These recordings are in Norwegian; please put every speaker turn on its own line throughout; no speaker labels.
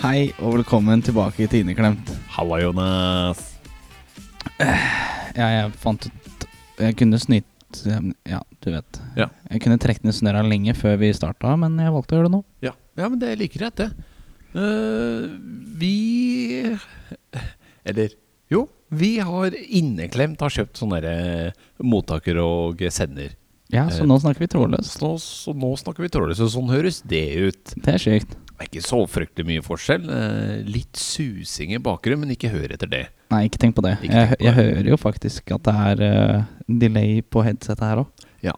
Hei og velkommen tilbake til Inneklemt.
Halla, Jonas.
Ja, jeg fant ut Jeg kunne snytt Ja, du vet.
Ja.
Jeg kunne trukket ned snørra lenge før vi starta, men jeg valgte å gjøre det nå.
Ja, ja men det er like greit, det. Eh, vi Eller jo, vi har inneklemt har kjøpt sånne der, eh, mottaker og sender.
Ja, Så
Eh,
nå snakker vi trådløst.
Så, så nå snakker vi trådløst, og sånn høres det ut.
Det er sykt.
Det er ikke så fryktelig mye forskjell. Eh, litt susing i bakgrunnen, men ikke hør etter det.
Nei, ikke tenk på det.
Ikke
Jeg,
tenk på
jeg
det.
hører jo faktisk at det er eh, delay på headsetet her òg.
Ja,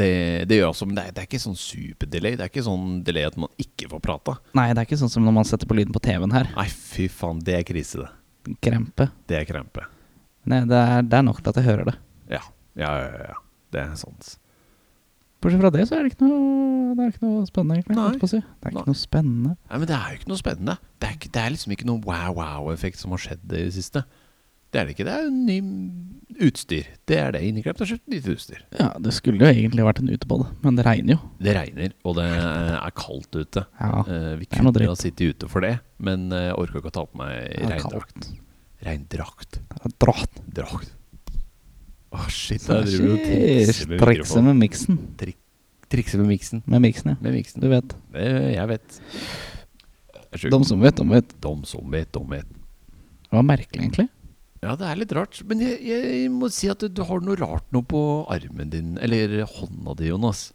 det, det gjør også, men det er, det er ikke sånn superdelay. Det er ikke sånn delay at man ikke får prata.
Nei, det er ikke sånn som når man setter på lyden på TV-en her.
Nei, fy faen, det er krise, det.
Krempe.
Det er krempe.
Nei, det er, det er nok til at jeg hører det.
Ja, ja, ja. ja, ja. Det er sant.
Bortsett fra det, så er det ikke noe, det er ikke noe spennende, egentlig.
Nei.
holdt på å si. Det er
Nei.
ikke noe spennende.
Nei, men Det er jo ikke noe spennende. Det er, ikke, det er liksom ikke noen wow-wow-effekt som har skjedd i det siste. Det er det ikke. Det er jo ny utstyr. Det er det. Inneklemt har kjøpt nytt utstyr.
Ja, det skulle jo egentlig vært en utebåt, men det regner jo.
Det regner, og det er kaldt ute.
Ja,
Eh, vi
Ah, er noe
kunne
dritt.
ha sittet ute for det, men eh, jeg orka ikke å ta på meg
det er
regndrakt.
kaldt.
Regndrakt.
Dratt.
Drakt. Å, shit.
Så
Jeg driver og trikser med
Strekse
mikrofonen.
med miksen.
Trikser med miksen.
Med miksen, ja.
Med miksen.
Du vet.
Det, jeg vet. Jeg er sjuk.
De som vet, de vet.
Dom som vet, dom vet.
Det var merkelig, egentlig.
Ja, det er litt rart. Men jeg, jeg må si at du, du har noe rart noe på armen din, eller hånda di, Jonas.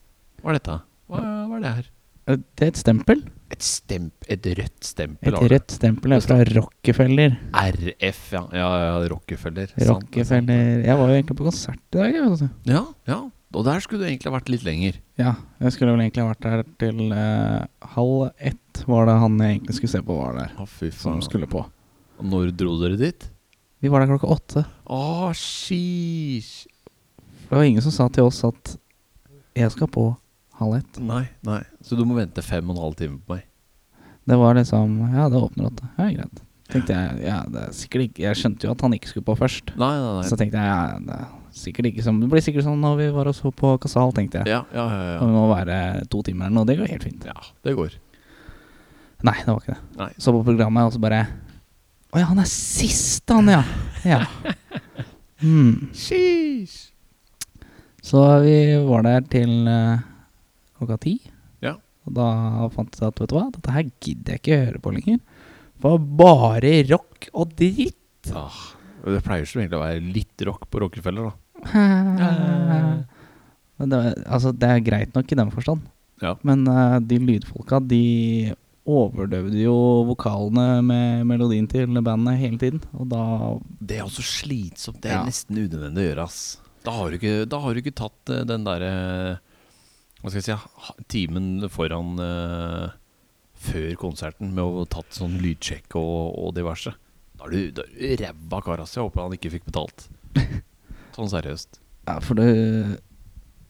Hva er dette? Hva, hva er det her?
Eh, Det er et stempel.
Et stemp, et rødt stempel.
Et
har du.
rødt stempel er fra Rockefeller.
RF, ja. ja, ja Rockefeller. Sant, det er sant.
Rockefeller Jeg var jo egentlig på konsert i dag. jeg, altså. vet du.
Ja, ja. Og der skulle du egentlig ha vært litt lenger.
Ja, jeg skulle vel egentlig vært der til eh, halv ett var det han jeg egentlig skulle se på, var der.
Å, fy
Som
faen.
skulle på.
Og Sånn Når dro dere dit?
Vi var der klokka åtte.
Å, sheesh.
Det var ingen som sa til oss at jeg skal på halv ett.
Nei, nei. Så du må vente fem og en halv time på meg.
Det var liksom Ja, det åpner åtte. Ja, greit. Tenkte jeg, ja, det er sikkert ikke Jeg skjønte jo at han ikke skulle på først.
Nei, nei,
Så
nei.
tenkte jeg ja, det er sikkert ikke som Det blir sikkert sånn når vi var og så på Casal, tenkte jeg.
Ja, ja, ja.
Og
ja.
vi må være to timer eller noe. Det går helt fint.
ja det går.
Nei, det var ikke det.
Nei.
Så på programmet, og så bare Å ja, han er sist, han, ja. ja. Mm.
Sheesh.
Så vi var der til eh, klokka ti.
Ja.
Og da fant jeg at vet du hva, dette her gidder jeg ikke høre på lenger. For bare rock og dritt.
Ah, det pleier som egentlig å være litt rock på Rockefeller, da.
Men det, altså, det er greit nok i den forstand.
Ja.
Men eh, de lydfolka, de overdøvde jo vokalene med melodien til bandet hele tiden. Og da
Det er også slitsomt. Det er
Ja.
nesten unødvendig å gjøre, ass. Da har du ikke, da har du ikke tatt eh, den derre Hva skal jeg si ha- Timen foran eh, Før konserten med å ha tatt sånn lydsjekk og, og diverse. Da er du, da er du ræva kar, ass. Jeg håper han ikke fikk betalt. Sånn seriøst.
Ja, for det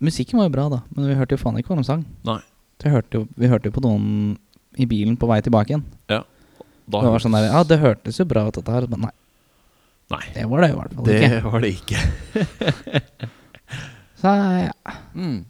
Musikken var jo bra, da, men vi hørte jo faen ikke hva de sang.
Nei.
Så jeg hørte jo, vi hørte jo på noen i bilen på vei tilbake igjen.
Da
Det var sånn der, Ja, det hørtes jo bra ut, dette her. Men nei,
Nei.
det var det jo i hvert fall
Det
ikke.
var det ikke.
Så ja,
Mm.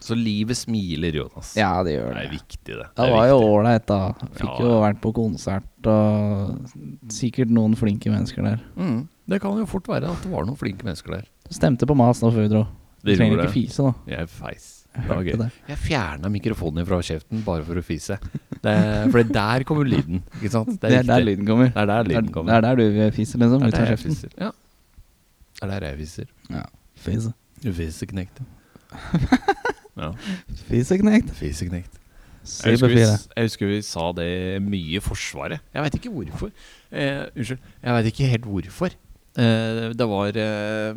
Så livet smiler, Jonas.
ja, det gjør
Det
det.
er viktig, det.
Det
er
var jo
viktig.
ålreit, da. Fikk
Ja,
jo
ja.
vært på konsert og sikkert noen flinke mennesker der.
Mm. Det kan jo fort være at det var noen flinke mennesker der.
Du stemte på mas nå før vi dro. Du
Det
trenger
gjorde
ikke fise nå.
Jeg feis.
Jeg
Det var
hørte
gøy.
det.
Jeg fjerna mikrofonen fra kjeften bare for å fise. Det, for der kommer lyden, ikke sant?
Det er der
viktig.
lyden kommer.
Det er der
Det er,
lyden
det
kommer.
er der du fiser, liksom. Ut av
jeg
kjeften.
fiser. Ja. Det er der jeg fiser.
Fise.
Fiseknekt. Ja.
Fiseknekt.
Fiseknekt. Jeg
Super
husker, vi,
fire.
jeg husker vi sa det mye i Forsvaret. Jeg veit ikke hvorfor. Eh, unnskyld. Jeg veit ikke helt hvorfor. Eh, det var eh,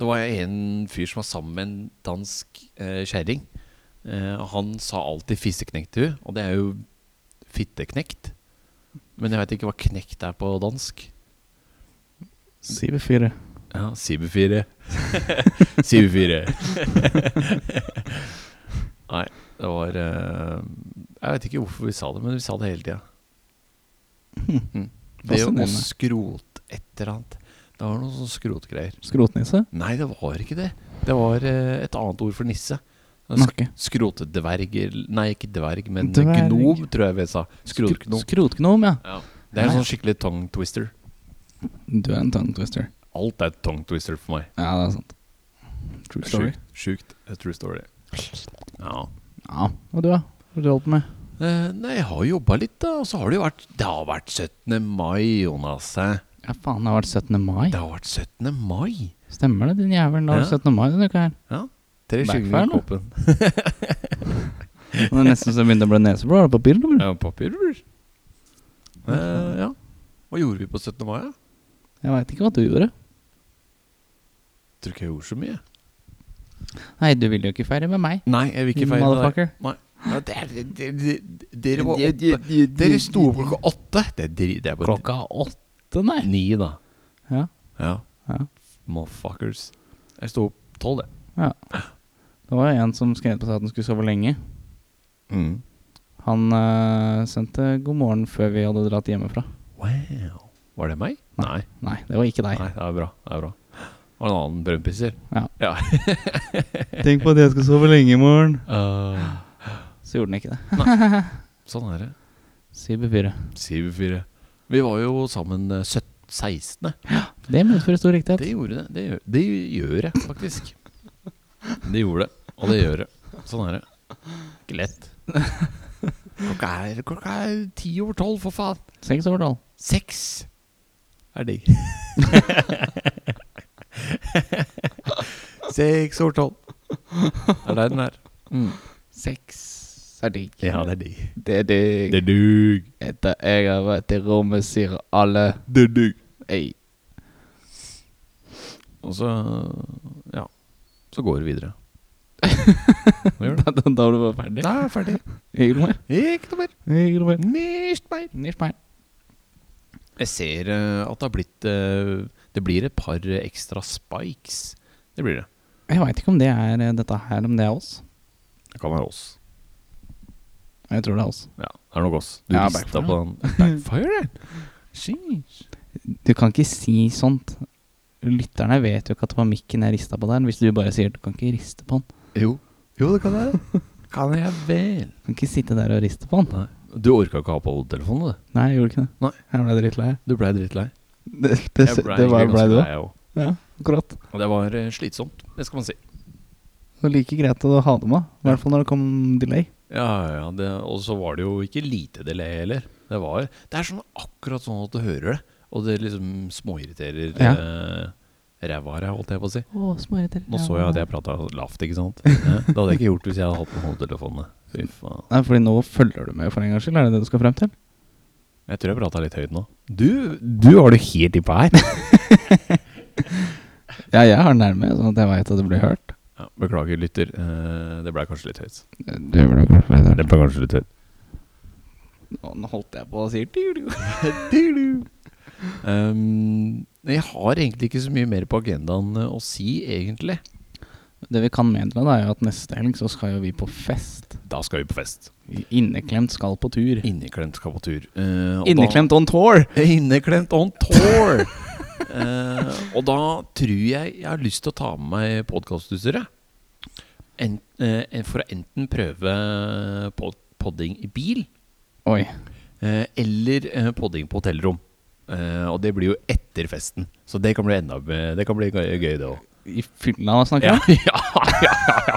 Det var en fyr som var sammen med en dansk eh, kjerring. Eh, han sa alltid 'fisseknekt' til henne, og det er jo fitteknekt. Men jeg veit ikke hva 'knekt' er på dansk.
Super fire.
Ja, Cyberfire. Cyberfire. Nei, Det var eh, Jeg vet ikke hvorfor vi sa det, men vi sa det hele tida.
Hm.
Mm. Det å
Fascinerende.
skrote et eller annet. Det var noen sånne skrotgreier.
Skrotnisse?
Nei, det var ikke det. Det var eh, et annet ord for nisse.
Nakke.
Skrotedverg eller- Nei, ikke dverg, men
Dverg.
gnom, tror jeg vi sa. Skrotgnom.
Skrotgnom, ja.
Ja. Det er en sånn skikkelig tongue twister.
Du er en tongue twister.
Alt er tongue twister for meg.
Ja, det er sant. True story.
Sjukt. Sjukt. eh, True story. Ja.
Ja, Og du, da? Hva har du holdt på med?
Eh, nei, jeg har jobba litt, da. Og så har det jo vært Det har vært 17. mai, Jonas. eh.
Ja, faen, det har vært 17. mai.
Det har vært 17. mai.
Stemmer det, din jævel. Det har vært
Ja.
17. mai denne uka her.
Ja. Tre
Backfire,
skygger i
nå.
kåpen.
Og Det er nesten så jeg begynte å bli neseblå. Har du papir, eller?
Ja, papirbror. Eh, ja. Hva gjorde vi på 17. mai? da?
Jeg veit ikke hva du gjorde.
Tror ikke jeg gjorde så mye.
Nei, du ville jo ikke feire med meg.
Nei, jeg vil ikke feire det.
Motherfucker.
Ja, det er- det- det- det- Dere var oppe. Dere sto opp klokka åtte. Det er dri- det er bare
klokka åtte, nei.
ni, da.
Ja.
Ja.
Ja.
Motherfuckers. Jeg sto opp tolv, jeg.
Det var jo en som skrev på seg at han skulle sove lenge.
Mm.
Han eh, sendte god morgen før vi hadde dratt hjemmefra.
Wow. Var det meg?
Nei.
Nei.
Nei, det var ikke
Nei,
deg.
det er bra. Det er bra. Det var en annen brønnpisser.
Ja.
Ja.
Tenk på at jeg skal sove lenge i morgen.
Eh,
Så gjorde han ikke det.
sånn er det.
Cyberfyret.
Sier vi fire. Vi var jo sammen eh, 17 16.
Det medfører stor riktighet.
Det gjorde det. Det gjør, det gjør jeg faktisk. Det gjorde det, og det gjør det. Sånn er det. Ikke lett. Klokka er, klokka er ti over tolv, for faen.
Seks over tolv.
Seks er digg. Seks over tolv. Det er der den er.
Seks er digg.
Ja, det er digg.
Det er digg.
Det er dug.
Etter jeg har vært i rommet, sier alle
Det er dug.
ei.
Og så ja. Så går det videre. Hva gjør du?
Da da- da var du bare ferdig?
Da er jeg ferdig.
Ikke noe mer.
Ikke noe mer.
Ikke noe mer.
Nicht mer.
Nicht mer.
Jeg ser eh, at det har blitt eh, Det blir et par eh, ekstra spikes. Det blir det.
Jeg veit ikke om det er eh, dette her, om det er oss.
Det kan være oss.
Jeg tror det er oss.
Ja, det er nok oss. Du
Ja,
ja, rista
backfire.
på den. Backfire, det. Sheesh.
Du kan ikke si sånt. Lytterne vet jo ikke at det var mikken jeg rista på der, hvis du bare sier du kan ikke riste på den.
Jo. jo, det kan være. kan jeg vel.
Du kan ikke sitte der og riste på den.
Nei. Du orka ikke å ha på hodetelefonen, du.
Nei, jeg gjorde ikke det.
Nei.
Jeg ble drittlei.
Du blei drittlei.
Det, det,
Jeg
det,
ble
var
egentlig
blei
ganske
du.
lei, jeg også.
Ja, akkurat.
Og Det var eh, slitsomt, det skal man si.
Det var like greit å ha det med, i hvert fall når det kom delay.
Ja, ja, ja, det, Og så var det jo ikke lite delay heller. Det, var, det er sånn akkurat sånn at du hører det, og det liksom småirriterer
Ja.
eh, ræva av deg, holdt jeg på å si.
Å, småirriterende.
Nå så jeg at jeg prata lavt, ikke sant? Ja, det hadde jeg ikke gjort hvis jeg hadde hatt på hodetelefonene. Fy faen.
Nei, fordi nå følger du med for en gangs skyld, er det det du skal frem til?
Jeg tror jeg prata litt høyt nå. Du, du har det helt innpå her.
Ja, jeg har den nærme, sånn at jeg veit at det blir hørt.
Ja, beklager, lytter. Eh, det blei kanskje litt høyt.
Du ble kanskje
Det ble kanskje litt høyt.
Nå holdt jeg på å si du, du.
Um, jeg har egentlig ikke så mye mer på agendaen eh, å si, egentlig.
Det vi kan meddele, da, er jo at neste helg så skal jo vi på fest.
Da skal vi på fest.
Inneklemt skal på tur.
Inneklemt skal på tur. Eh, og da-
Inneklemt on tour!
Inneklemt on tour! Eh, og da tror jeg jeg har lyst til å ta med meg podkastutstyret. En, eh, en- for å enten prøve pod podding i bil,
Oi.
eh, eller eh, podding på hotellrom. Eh, og det blir jo etter festen, så det kan bli, enda, be- det kan bli gøy, gøy det òg.
I fylla snakker
Ja,
jeg.
ja, ja, ja, ja.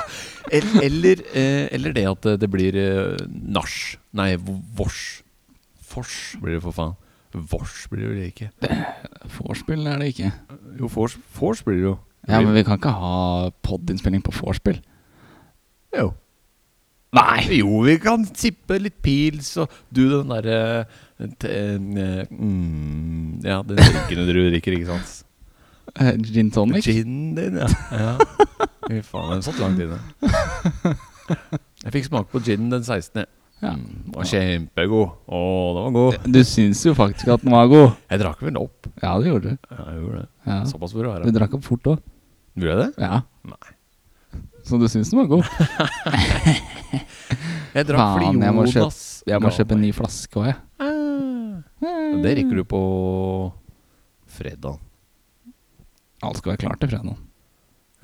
El- Eller, eh, eller det at det blir eh, nach. Nei, vors. Fors blir det for faen. Vors blir det vel ikke.
Vorspiel er det ikke.
Jo, vors, vors blir det jo.
Ja, men vi kan ikke ha podinnspilling på vorspiel.
jo. Nei! Jo, vi kan sippe litt pils og Du, den derre eh, te- eh, mm, Ja, den drikken du drikker, ikke sant?
Eh, Gin tonic?
Ginen din, ja. ja. Fy faen, den satt langt inne. Jeg fikk smake på ginen den 16.
Ja.
Den var kjempegod. Å, den var god.
Du syns jo faktisk at den var god.
Jeg drakk vel opp.
Ja, det gjorde du.
Ja, jeg gjorde det.
Ja.
Såpass bør det
Du
være.
drakk opp fort òg.
Gjorde jeg det?
Ja.
Nei.
Så du syns den var god?
Jeg drakk
Faen,
fordi
jeg må kjøpe-
Jonas
Jeg må
ga
kjøpe en
meg-
ny flaske òg, jeg.
Ah. Ja, Det rekker du på fredag.
Alt skal være klart til fredag.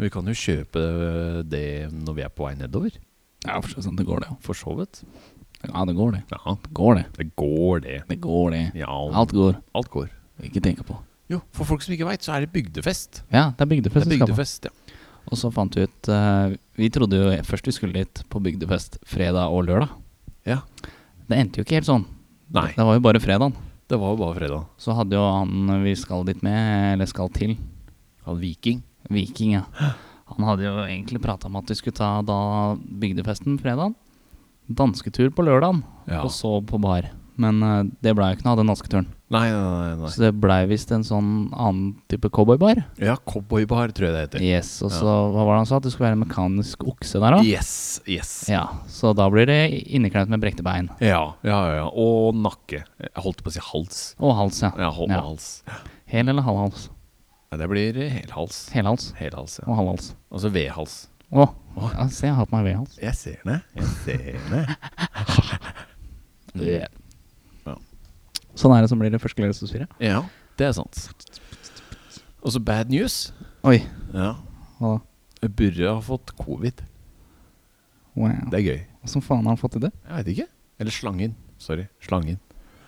Vi kan jo kjøpe eh, det når vi er på vei nedover,
Ja, for så sånn, det går det,
for så vidt.
ja. Ja, det går det.
Ja,
Det går det.
det går, det.
Det går det.
Ja,
Alt går.
alt går.
Ikke tenke på.
Jo, for folk som ikke veit, så er det bygdefest.
Ja, det er
Det
bygdefest.
er
vi skal på.
bygdefest, ja.
Og så fant vi ut eh, Vi trodde jo først vi skulle dit på bygdefest fredag og lørdag.
Ja.
Det endte jo ikke helt sånn.
Nei,
Det var jo bare fredagen.
det var jo bare fredag.
Så hadde jo han vi skal dit med, eller skal til,
Han Viking.
Viking, ja. Han hadde jo egentlig prata om at vi skulle ta da bygdefesten fredagen, dansketur på lørdagen,
Ja.
og så på bar. Men eh, det blei jo ikke noe av den asketuren.
Nei, nei, nei.
Så det blei visst en sånn annen type cowboybar.
nei. Ja, cowboybar, tror jeg det heter.
Yes, og så hva var det han sa? At det skulle være en mekanisk okse der òg?
Yes, yes.
Ja, så da blir det inneklemt med brekte bein.
Ja, ja, ja, ja. Og nakke. Jeg holdt på å si hals.
Og hals, ja.
Ja, hold
Ja.
hals.
Hel eller halvhals?
Nei, det blir helhals.
Helhals
Helhals, ja.
og halvhals.
Altså vedhals.
Å, ja, se, jeg har på meg vedhals.
Jeg ser det. Jeg ser det. Ja.
Mm. Sånn er det som blir det første klasse
Ja, det er sant. Og så bad news.
Oi.
Ja.
Hva da?
Burre har fått covid.
Wow.
Det er gøy.
Åssen faen har han fått til det?
Jeg veit ikke. Eller slangen. Sorry. Slangen.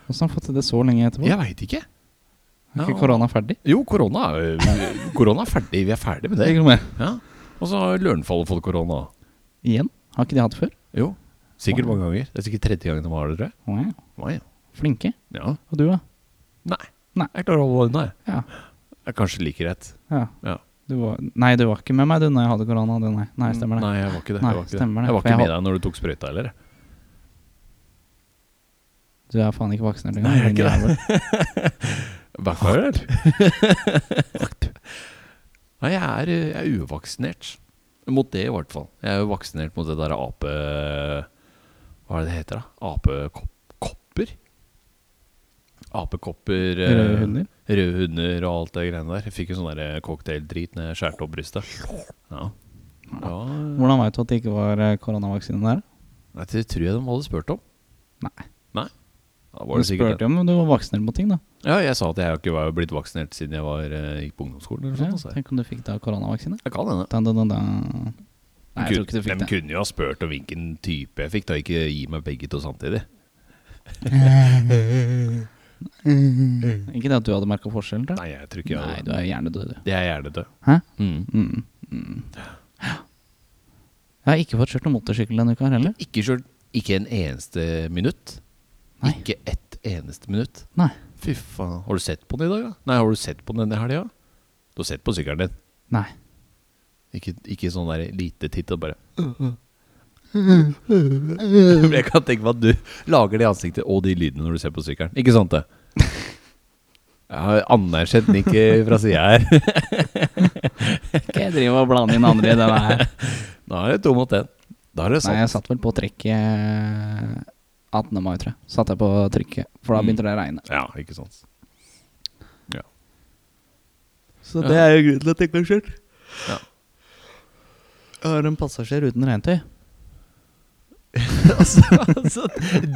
Åssen har han fått til det så lenge etterpå?
Jeg veit ikke.
Er ikke
ja.
korona ferdig?
Jo, korona er, korona er ferdig. Vi er ferdig med det.
Ikke noe mer.
Ja. Og så har Lørenfallet fått korona.
Igjen? Har ikke de hatt det før?
Jo. Sikkert mange ganger. Det er sikkert tredje gangen de har det, tror jeg.
Wow.
Nei, ja.
Flinke.
Ja.
Og du, da?
Nei.
Nei.
Jeg klarer å holde unna, jeg.
Ja.
Det er Kanskje like rett.
ja.
Ja.
Du var, nei, du var ikke med meg du når jeg hadde korona. Du, nei. nei, stemmer det.
Nei, jeg var ikke det.
Nei,
jeg var ikke,
stemmer det,
Jeg var
for
ikke
jeg
med
har-
deg når du tok sprøyta heller. jeg.
Du er faen ikke voksen
Nei, jeg er ikke
det.
Hvorfor er det? Nei, jeg er, jeg er uvaksinert. Mot det, i hvert fall. Jeg er jo vaksinert mot det der ape... Hva er det det heter, da? Apekopper? Apekopper eh,
Røde hunder?
Røde hunder og alt det greiene der. Jeg fikk jo sånn der cocktaildrit når jeg skjærte opp brystet. Ja. ja.
Hvordan veit du at det ikke var eh, koronavaksine der?
Nei, det tror jeg de hadde spurt om.
Nei.
Nei? Da var det
du
sikkert
spurte jo om du var vaksinert mot ting, da.
Ja, jeg sa at jeg ikke var blitt vaksinert siden jeg var, eh, gikk på ungdomsskolen. eller
Ja,
sånt, altså.
tenk om du fikk da koronavaksine?
Jeg kan hende.
Da, da, da, da. Nei, jeg tror ikke du fikk
de
det.
kunne jo ha spurt om hvilken type jeg fikk, da ikke gi meg begge to samtidig.
Ikke det at du hadde merka forskjell? tror jeg.
Mm. Nei, jeg tror ikke jeg
Nei,
hadde
du er hjernedød, du.
Det er hjernedød.
Hæ?
Mm.
Mm. Mm. Jeg har ikke fått kjørt noen motorsykkel denne uka her heller.
Ikke kjørt ikke en eneste minutt.
Nei.
Ikke ett eneste minutt.
Nei.
Fy faen. Har du sett på den i dag, da? Nei, har du sett på den denne helga? Du har sett på sykkelen din.
Nei.
Ikke, ikke sånn der lite titt og bare Men Jeg kan tenke meg at du lager det ansiktet og de lydene når du ser på sykkelen. Ikke sant, det? Jeg har anerkjent den ikke fra sida her.
Ikke jeg driver og blander inn andre i denne her.
Da er det to mot én. Da er det sånn.
Nei,
sant.
jeg satt vel på trikket 18. mai, tror jeg. Satt jeg på trikket, for da
Mm.
begynte det å regne.
Ja, ikke sant.
Så
det
er jo grunnen til at jeg ikke har kjørt.
Ja.
Jeg har en passasjer uten regntøy.
altså, altså,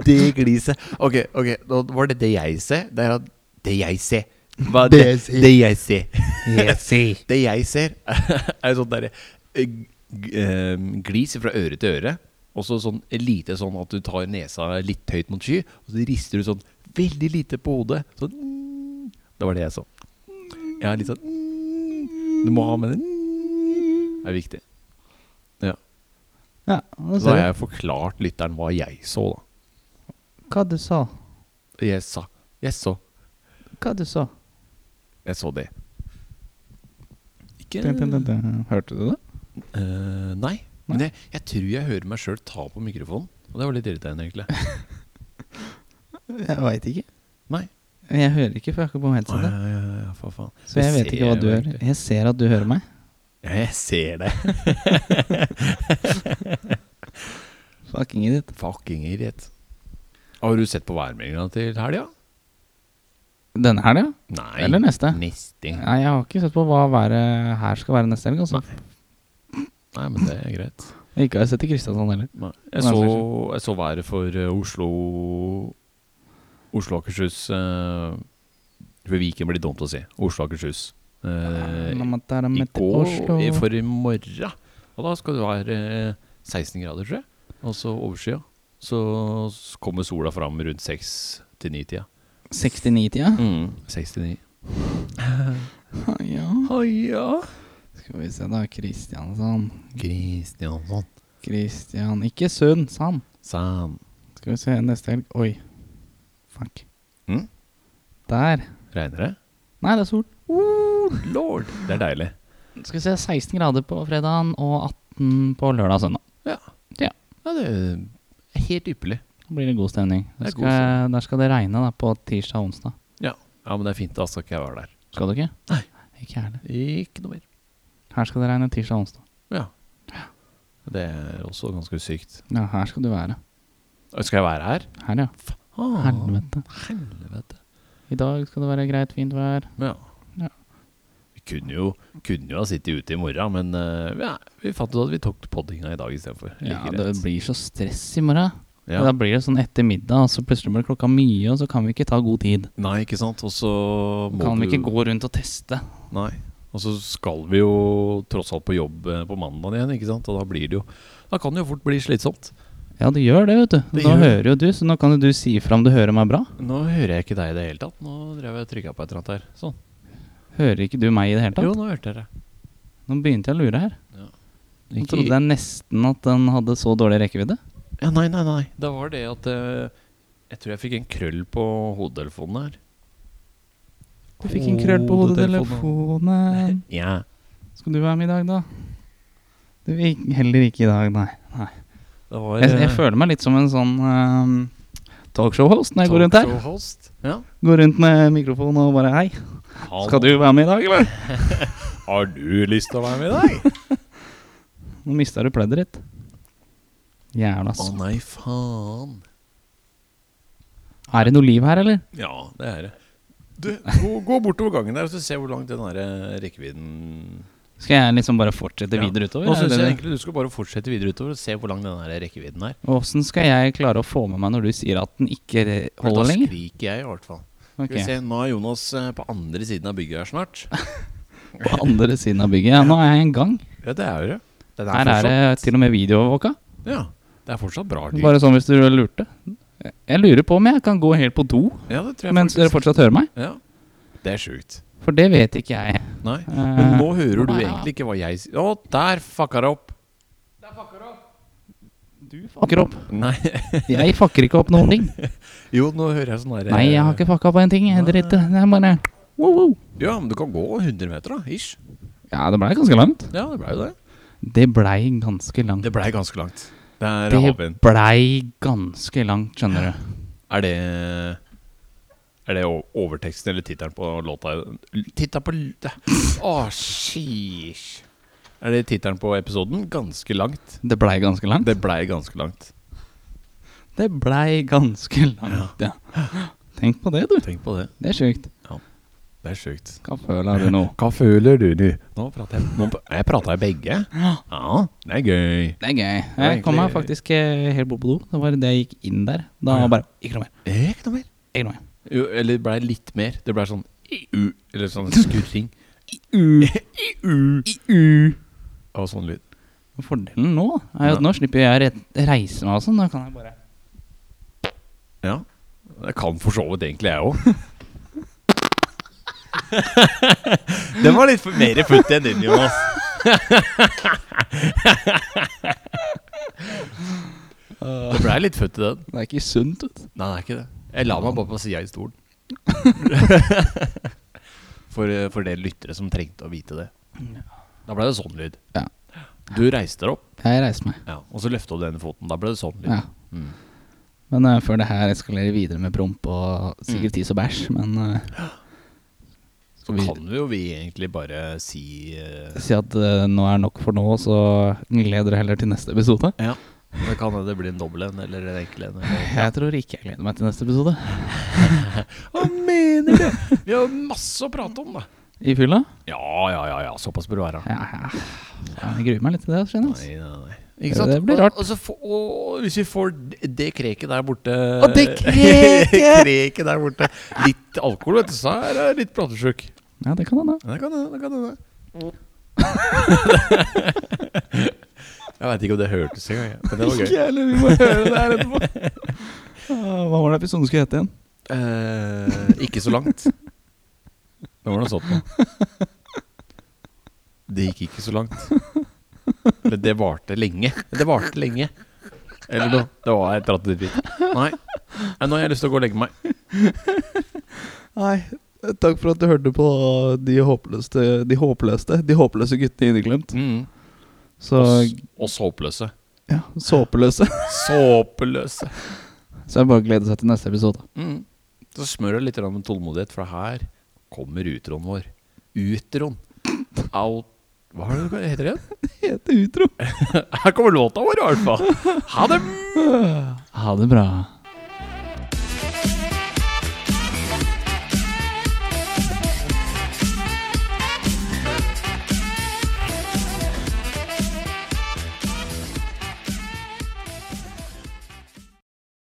det gliset. Ok, ok, nå var det det jeg ser. Det er at det jeg ser. Hva, det, det jeg ser. Det jeg ser, er sånn derre eh, g- eh, glis fra øre til øre. Og så sånn lite sånn at du tar nesa litt høyt mot sky, og så rister du sånn veldig lite på hodet. Sånn mm. Det var det jeg så. Ja, litt sånn mm. Du må ha med det mm. Det er viktig.
Ja, nå
Så
ser
har
jeg.
jeg forklart lytteren hva jeg så, da.
Hva du sa?
Jeg sa Jeg så
Hva du sa?
Jeg så det. Ikke
Dun, dun, dun, dun. Hørte du det?
Eh, Nei. Men jeg, jeg tror jeg hører meg sjøl ta på mikrofonen. Og det var litt irriterende, egentlig.
Jeg veit ikke.
Nei.
Jeg hører ikke, for jeg har ikke på meg
Nei,
headsetet.
ja, ja, ja, for faen.
Så jeg
Det
vet ikke hva
ser
du
jeg jo
hører.
egentlig.
Jeg ser at du hører meg.
Ja, jeg ser det.
Fucking idiot.
Fucking idiot. Har du sett på værmeldinga til helga?
Denne helga?
Nei.
Eller neste?
Neste.
Nei, jeg har ikke sett på hva været her skal være neste helg. Altså.
Nei, men det er greit.
Ikke har jeg sett i Kristiansand heller.
Nei. Jeg,
Nei,
så,
kanskje.
jeg så været for eh, Oslo Oslo og Akershus eh, For Viken blir dumt å si. Oslo og Akershus. Eh, I går i- for i morgen. Og da skal det være eh, 16 grader, tror jeg. Altså overskya. Så s- kommer sola fram rundt 6 til 9-tida.
69-tida?
Mm. 69.
Ja.
Haia.
Skal vi se, da. Kristiansand.
Kristiansson.
Kristian Ikke Sund, Sand.
Sam.
Skal vi se, neste helg Oi. Fuck.
Mm?
Der.
Regner det?
Nei, det er sol.
Lord. Det er deilig.
Skal vi se, 16 grader på fredagen og 18 på lørdag og søndag.
Ja, det er helt ypperlig.
Da blir det god stemning. Der
Det er
skal,
god
der skal det regne da, på tirsdag og onsdag.
Ja, men det er fint. Da skal ikke jeg være der.
Skal det ikke?
Nei.
Ikke heller.
Ikke noe mer.
Her skal det regne tirsdag og onsdag.
Ja. Det er også ganske sykt.
Ja, her skal du være.
Skal jeg være her? Ah.
Her, ja.
Faen.
Helvete.
Helvete.
I dag skal det være greit, fint vær.
Ja.
Ja.
Vi kunne jo, kunne jo ha sittet ute i morgen, men eh, ja, vi fant ut at vi tok poddinga i dag istedenfor.
Ja,
Like
det
greit.
blir så stress i morgen.
Ja.
Da blir det sånn etter middag, og så plutselig blir klokka mye, og så kan vi ikke ta god tid.
Nei, ikke sant. Og så må
Kan vi
du-
ikke gå rundt og teste?
Nei. Og så skal vi jo tross alt på jobb eh, på mandag igjen, ikke sant. Og da blir det jo Da kan det jo fort bli slitsomt.
Ja, det gjør det, vet du.
Det
nå
gjør det.
hører jo du, så nå kan jo du si ifra om du hører meg bra.
Nå hører jeg ikke deg i det hele tatt. Nå drev jeg og trykka på et eller annet her. Sånn.
Hører ikke du meg i det hele tatt?
Jo, nå hørte jeg det.
Nå begynte jeg å lure her. Nå
Ikke-
trodde jeg nesten at den hadde så dårlig rekkevidde.
Ja, nei, nei, nei. Da var det at eh, Jeg tror jeg fikk en krøll på hodetelefonen her.
Du fikk en krøll på hodetelefonen.
Ja.
Skal du være med i dag, da? Du vil heller ikke i dag, nei.
Det var eh,
Jeg, jeg føler meg litt som en sånn ehm, talkshow-host når jeg går rundt her.
Host. Ja.
Går rundt med mikrofon og bare hei. Skal du være med i dag, eller?
Har du lyst til å være med i dag?
Nå mista du pleddet ditt. Jævla
Å
s...
nei, faen.
Er det noe liv her, eller?
Ja, det er det. Du, gå, gå bortover gangen der og så se hvor langt den der eh, rekkevidden
Skal jeg liksom bare fortsette
Ja.
videre utover?
Nå
er det
syns jeg
det?
egentlig du skal bare fortsette videre utover og se hvor lang den der rekkevidden er.
Og Åssen skal jeg klare å få med meg når du sier at den ikke re-
For
holder
da
lenger?
skriker jeg i hvert fall. Skal vi
Ok,
se, nå er Jonas eh, på andre siden av bygget her snart.
På andre siden av bygget. Ja, nå er jeg i gang.
Ja, det er jo det. Den
Her er det til og med videoovervåka.
fortsatt, ja, det er fortsatt bra lyd.
Bare sånn hvis du lurte. Jeg lurer på om jeg kan gå helt på do
Ja, det tror jeg
mens dere
faktisk.
fortsatt hører meg.
Ja. Det er sjukt.
For det vet ikke jeg.
Nei.
Eh,
Men nå hører du
nei, ja.
egentlig ikke hva jeg sier. Å, der fucka det opp!
Du fucker opp.
Nei.
Jeg fucker ikke opp noen ting.
Jo, nå hører jeg sånn derre
Nei, jeg har ikke fucka opp en ting. Jeg driter. Det er bare wow, wow.
Ja, men du kan gå 100 meter, da. Ish.
Ja, det blei ganske langt.
Ja, det blei jo det.
Det blei ganske langt.
Det blei ganske langt. Det er
Det
havvind.
blei ganske langt, skjønner du.
Er det Er det o- overteksten eller tittelen på låta? Titta på l- det- Å, sheesh. Er det tittelen på episoden? Ganske langt.
Det blei ganske langt?
Det blei ganske langt.
Det blei ganske langt, ja. Tenk på det, du.
Tenk på det.
Det er sjukt.
Det er sjukt.
Hva føler du nå?
Hva føler du nå? Nå prater jeg nå, pr- Jeg prater i begge. Ja, det er gøy.
Det er gøy.
var
Jeg kom meg
egentlig-
faktisk eh, helt bort på do. Det var det jeg gikk inn der. Da
Å, ja.
bare Ikke noe mer.
Ikke noe mer.
Ikke noe mer.
Jo, eller det ble litt mer. Det ble sånn iu, eller sånn skurring. Iu. Og sånn lyd.
Fordelen nå er jo at
Ja.
nå slipper jeg å re- reise meg og sånn. Da kan jeg bare
Ja. Jeg kan for så vidt egentlig, jeg òg. Den var litt mer futt enn din, Jonas. Det blei litt futt i den.
Det er ikke sunt, vet du.
Nei, det er ikke det. Jeg la meg bare på sida i stolen. for, eh, for dere lyttere som trengte å vite det. Da ble det sånn lyd.
Ja.
Du reiste deg opp,
Jeg reiser meg.
ja, og så løfta du denne foten. Da ble det sånn lyd.
Ja.
Mm.
Men eh, før det her eskalerer videre med promp og sikkert tis og bæsj, men eh,
Så
vi-
kan jo vi egentlig bare si eh,
si at eh, nå er nok for nå, så gleder dere heller til neste episode.
Ja. Det kan hende det blir en dobbel en eller en enkel en. eller-
Jeg tror ikke jeg gleder meg til neste episode.
Hva mener du?! Vi har masse å prate om, da.
I fylla?
Ja, ja, ja. ja. Såpass bør det være.
Ja, ja. Faen, Jeg gruer meg litt til det. skjønner du.
Nei, nei, nei.
Det-
Ikke sant?
det blir
Og-
rart.
Og, så få- og hvis vi får d- det kreket der borte
Og det kreket!
Kreket der borte. Litt alkohol, vet du, så er det litt platesjuk.
Ja, det kan hende.
Ja, Det kan hende, det kan hende. Jeg veit ikke om det hørtes engang. jeg. Men det var gøy.
heller. Vi må høre det her etterpå. Ah, Hva var det episoden skulle hete igjen?
Eh, ikke så langt. Det var noe sånt noe. Det gikk ikke så langt. Eller det varte lenge. Det varte lenge. Eller noe. Det var et eller annet dritt. Nei. Nei, nå har jeg lyst til å gå og legge meg.
Nei, takk for at du hørte på de håpløste, de håpløste, de håpløse guttene i Inneklemt.
Mm.
Så
Oss, oss håpløse.
ja, såpeløse.
Såpeløse.
Så jeg bare gleder seg til neste episode.
Mm. Så smør det litt grann med tålmodighet, for her kommer utroen vår. Utroen. Out. Hva er det det heter igjen?
Hete utro.
Her kommer låta vår, i hvert fall. Ha det!
Ha det bra.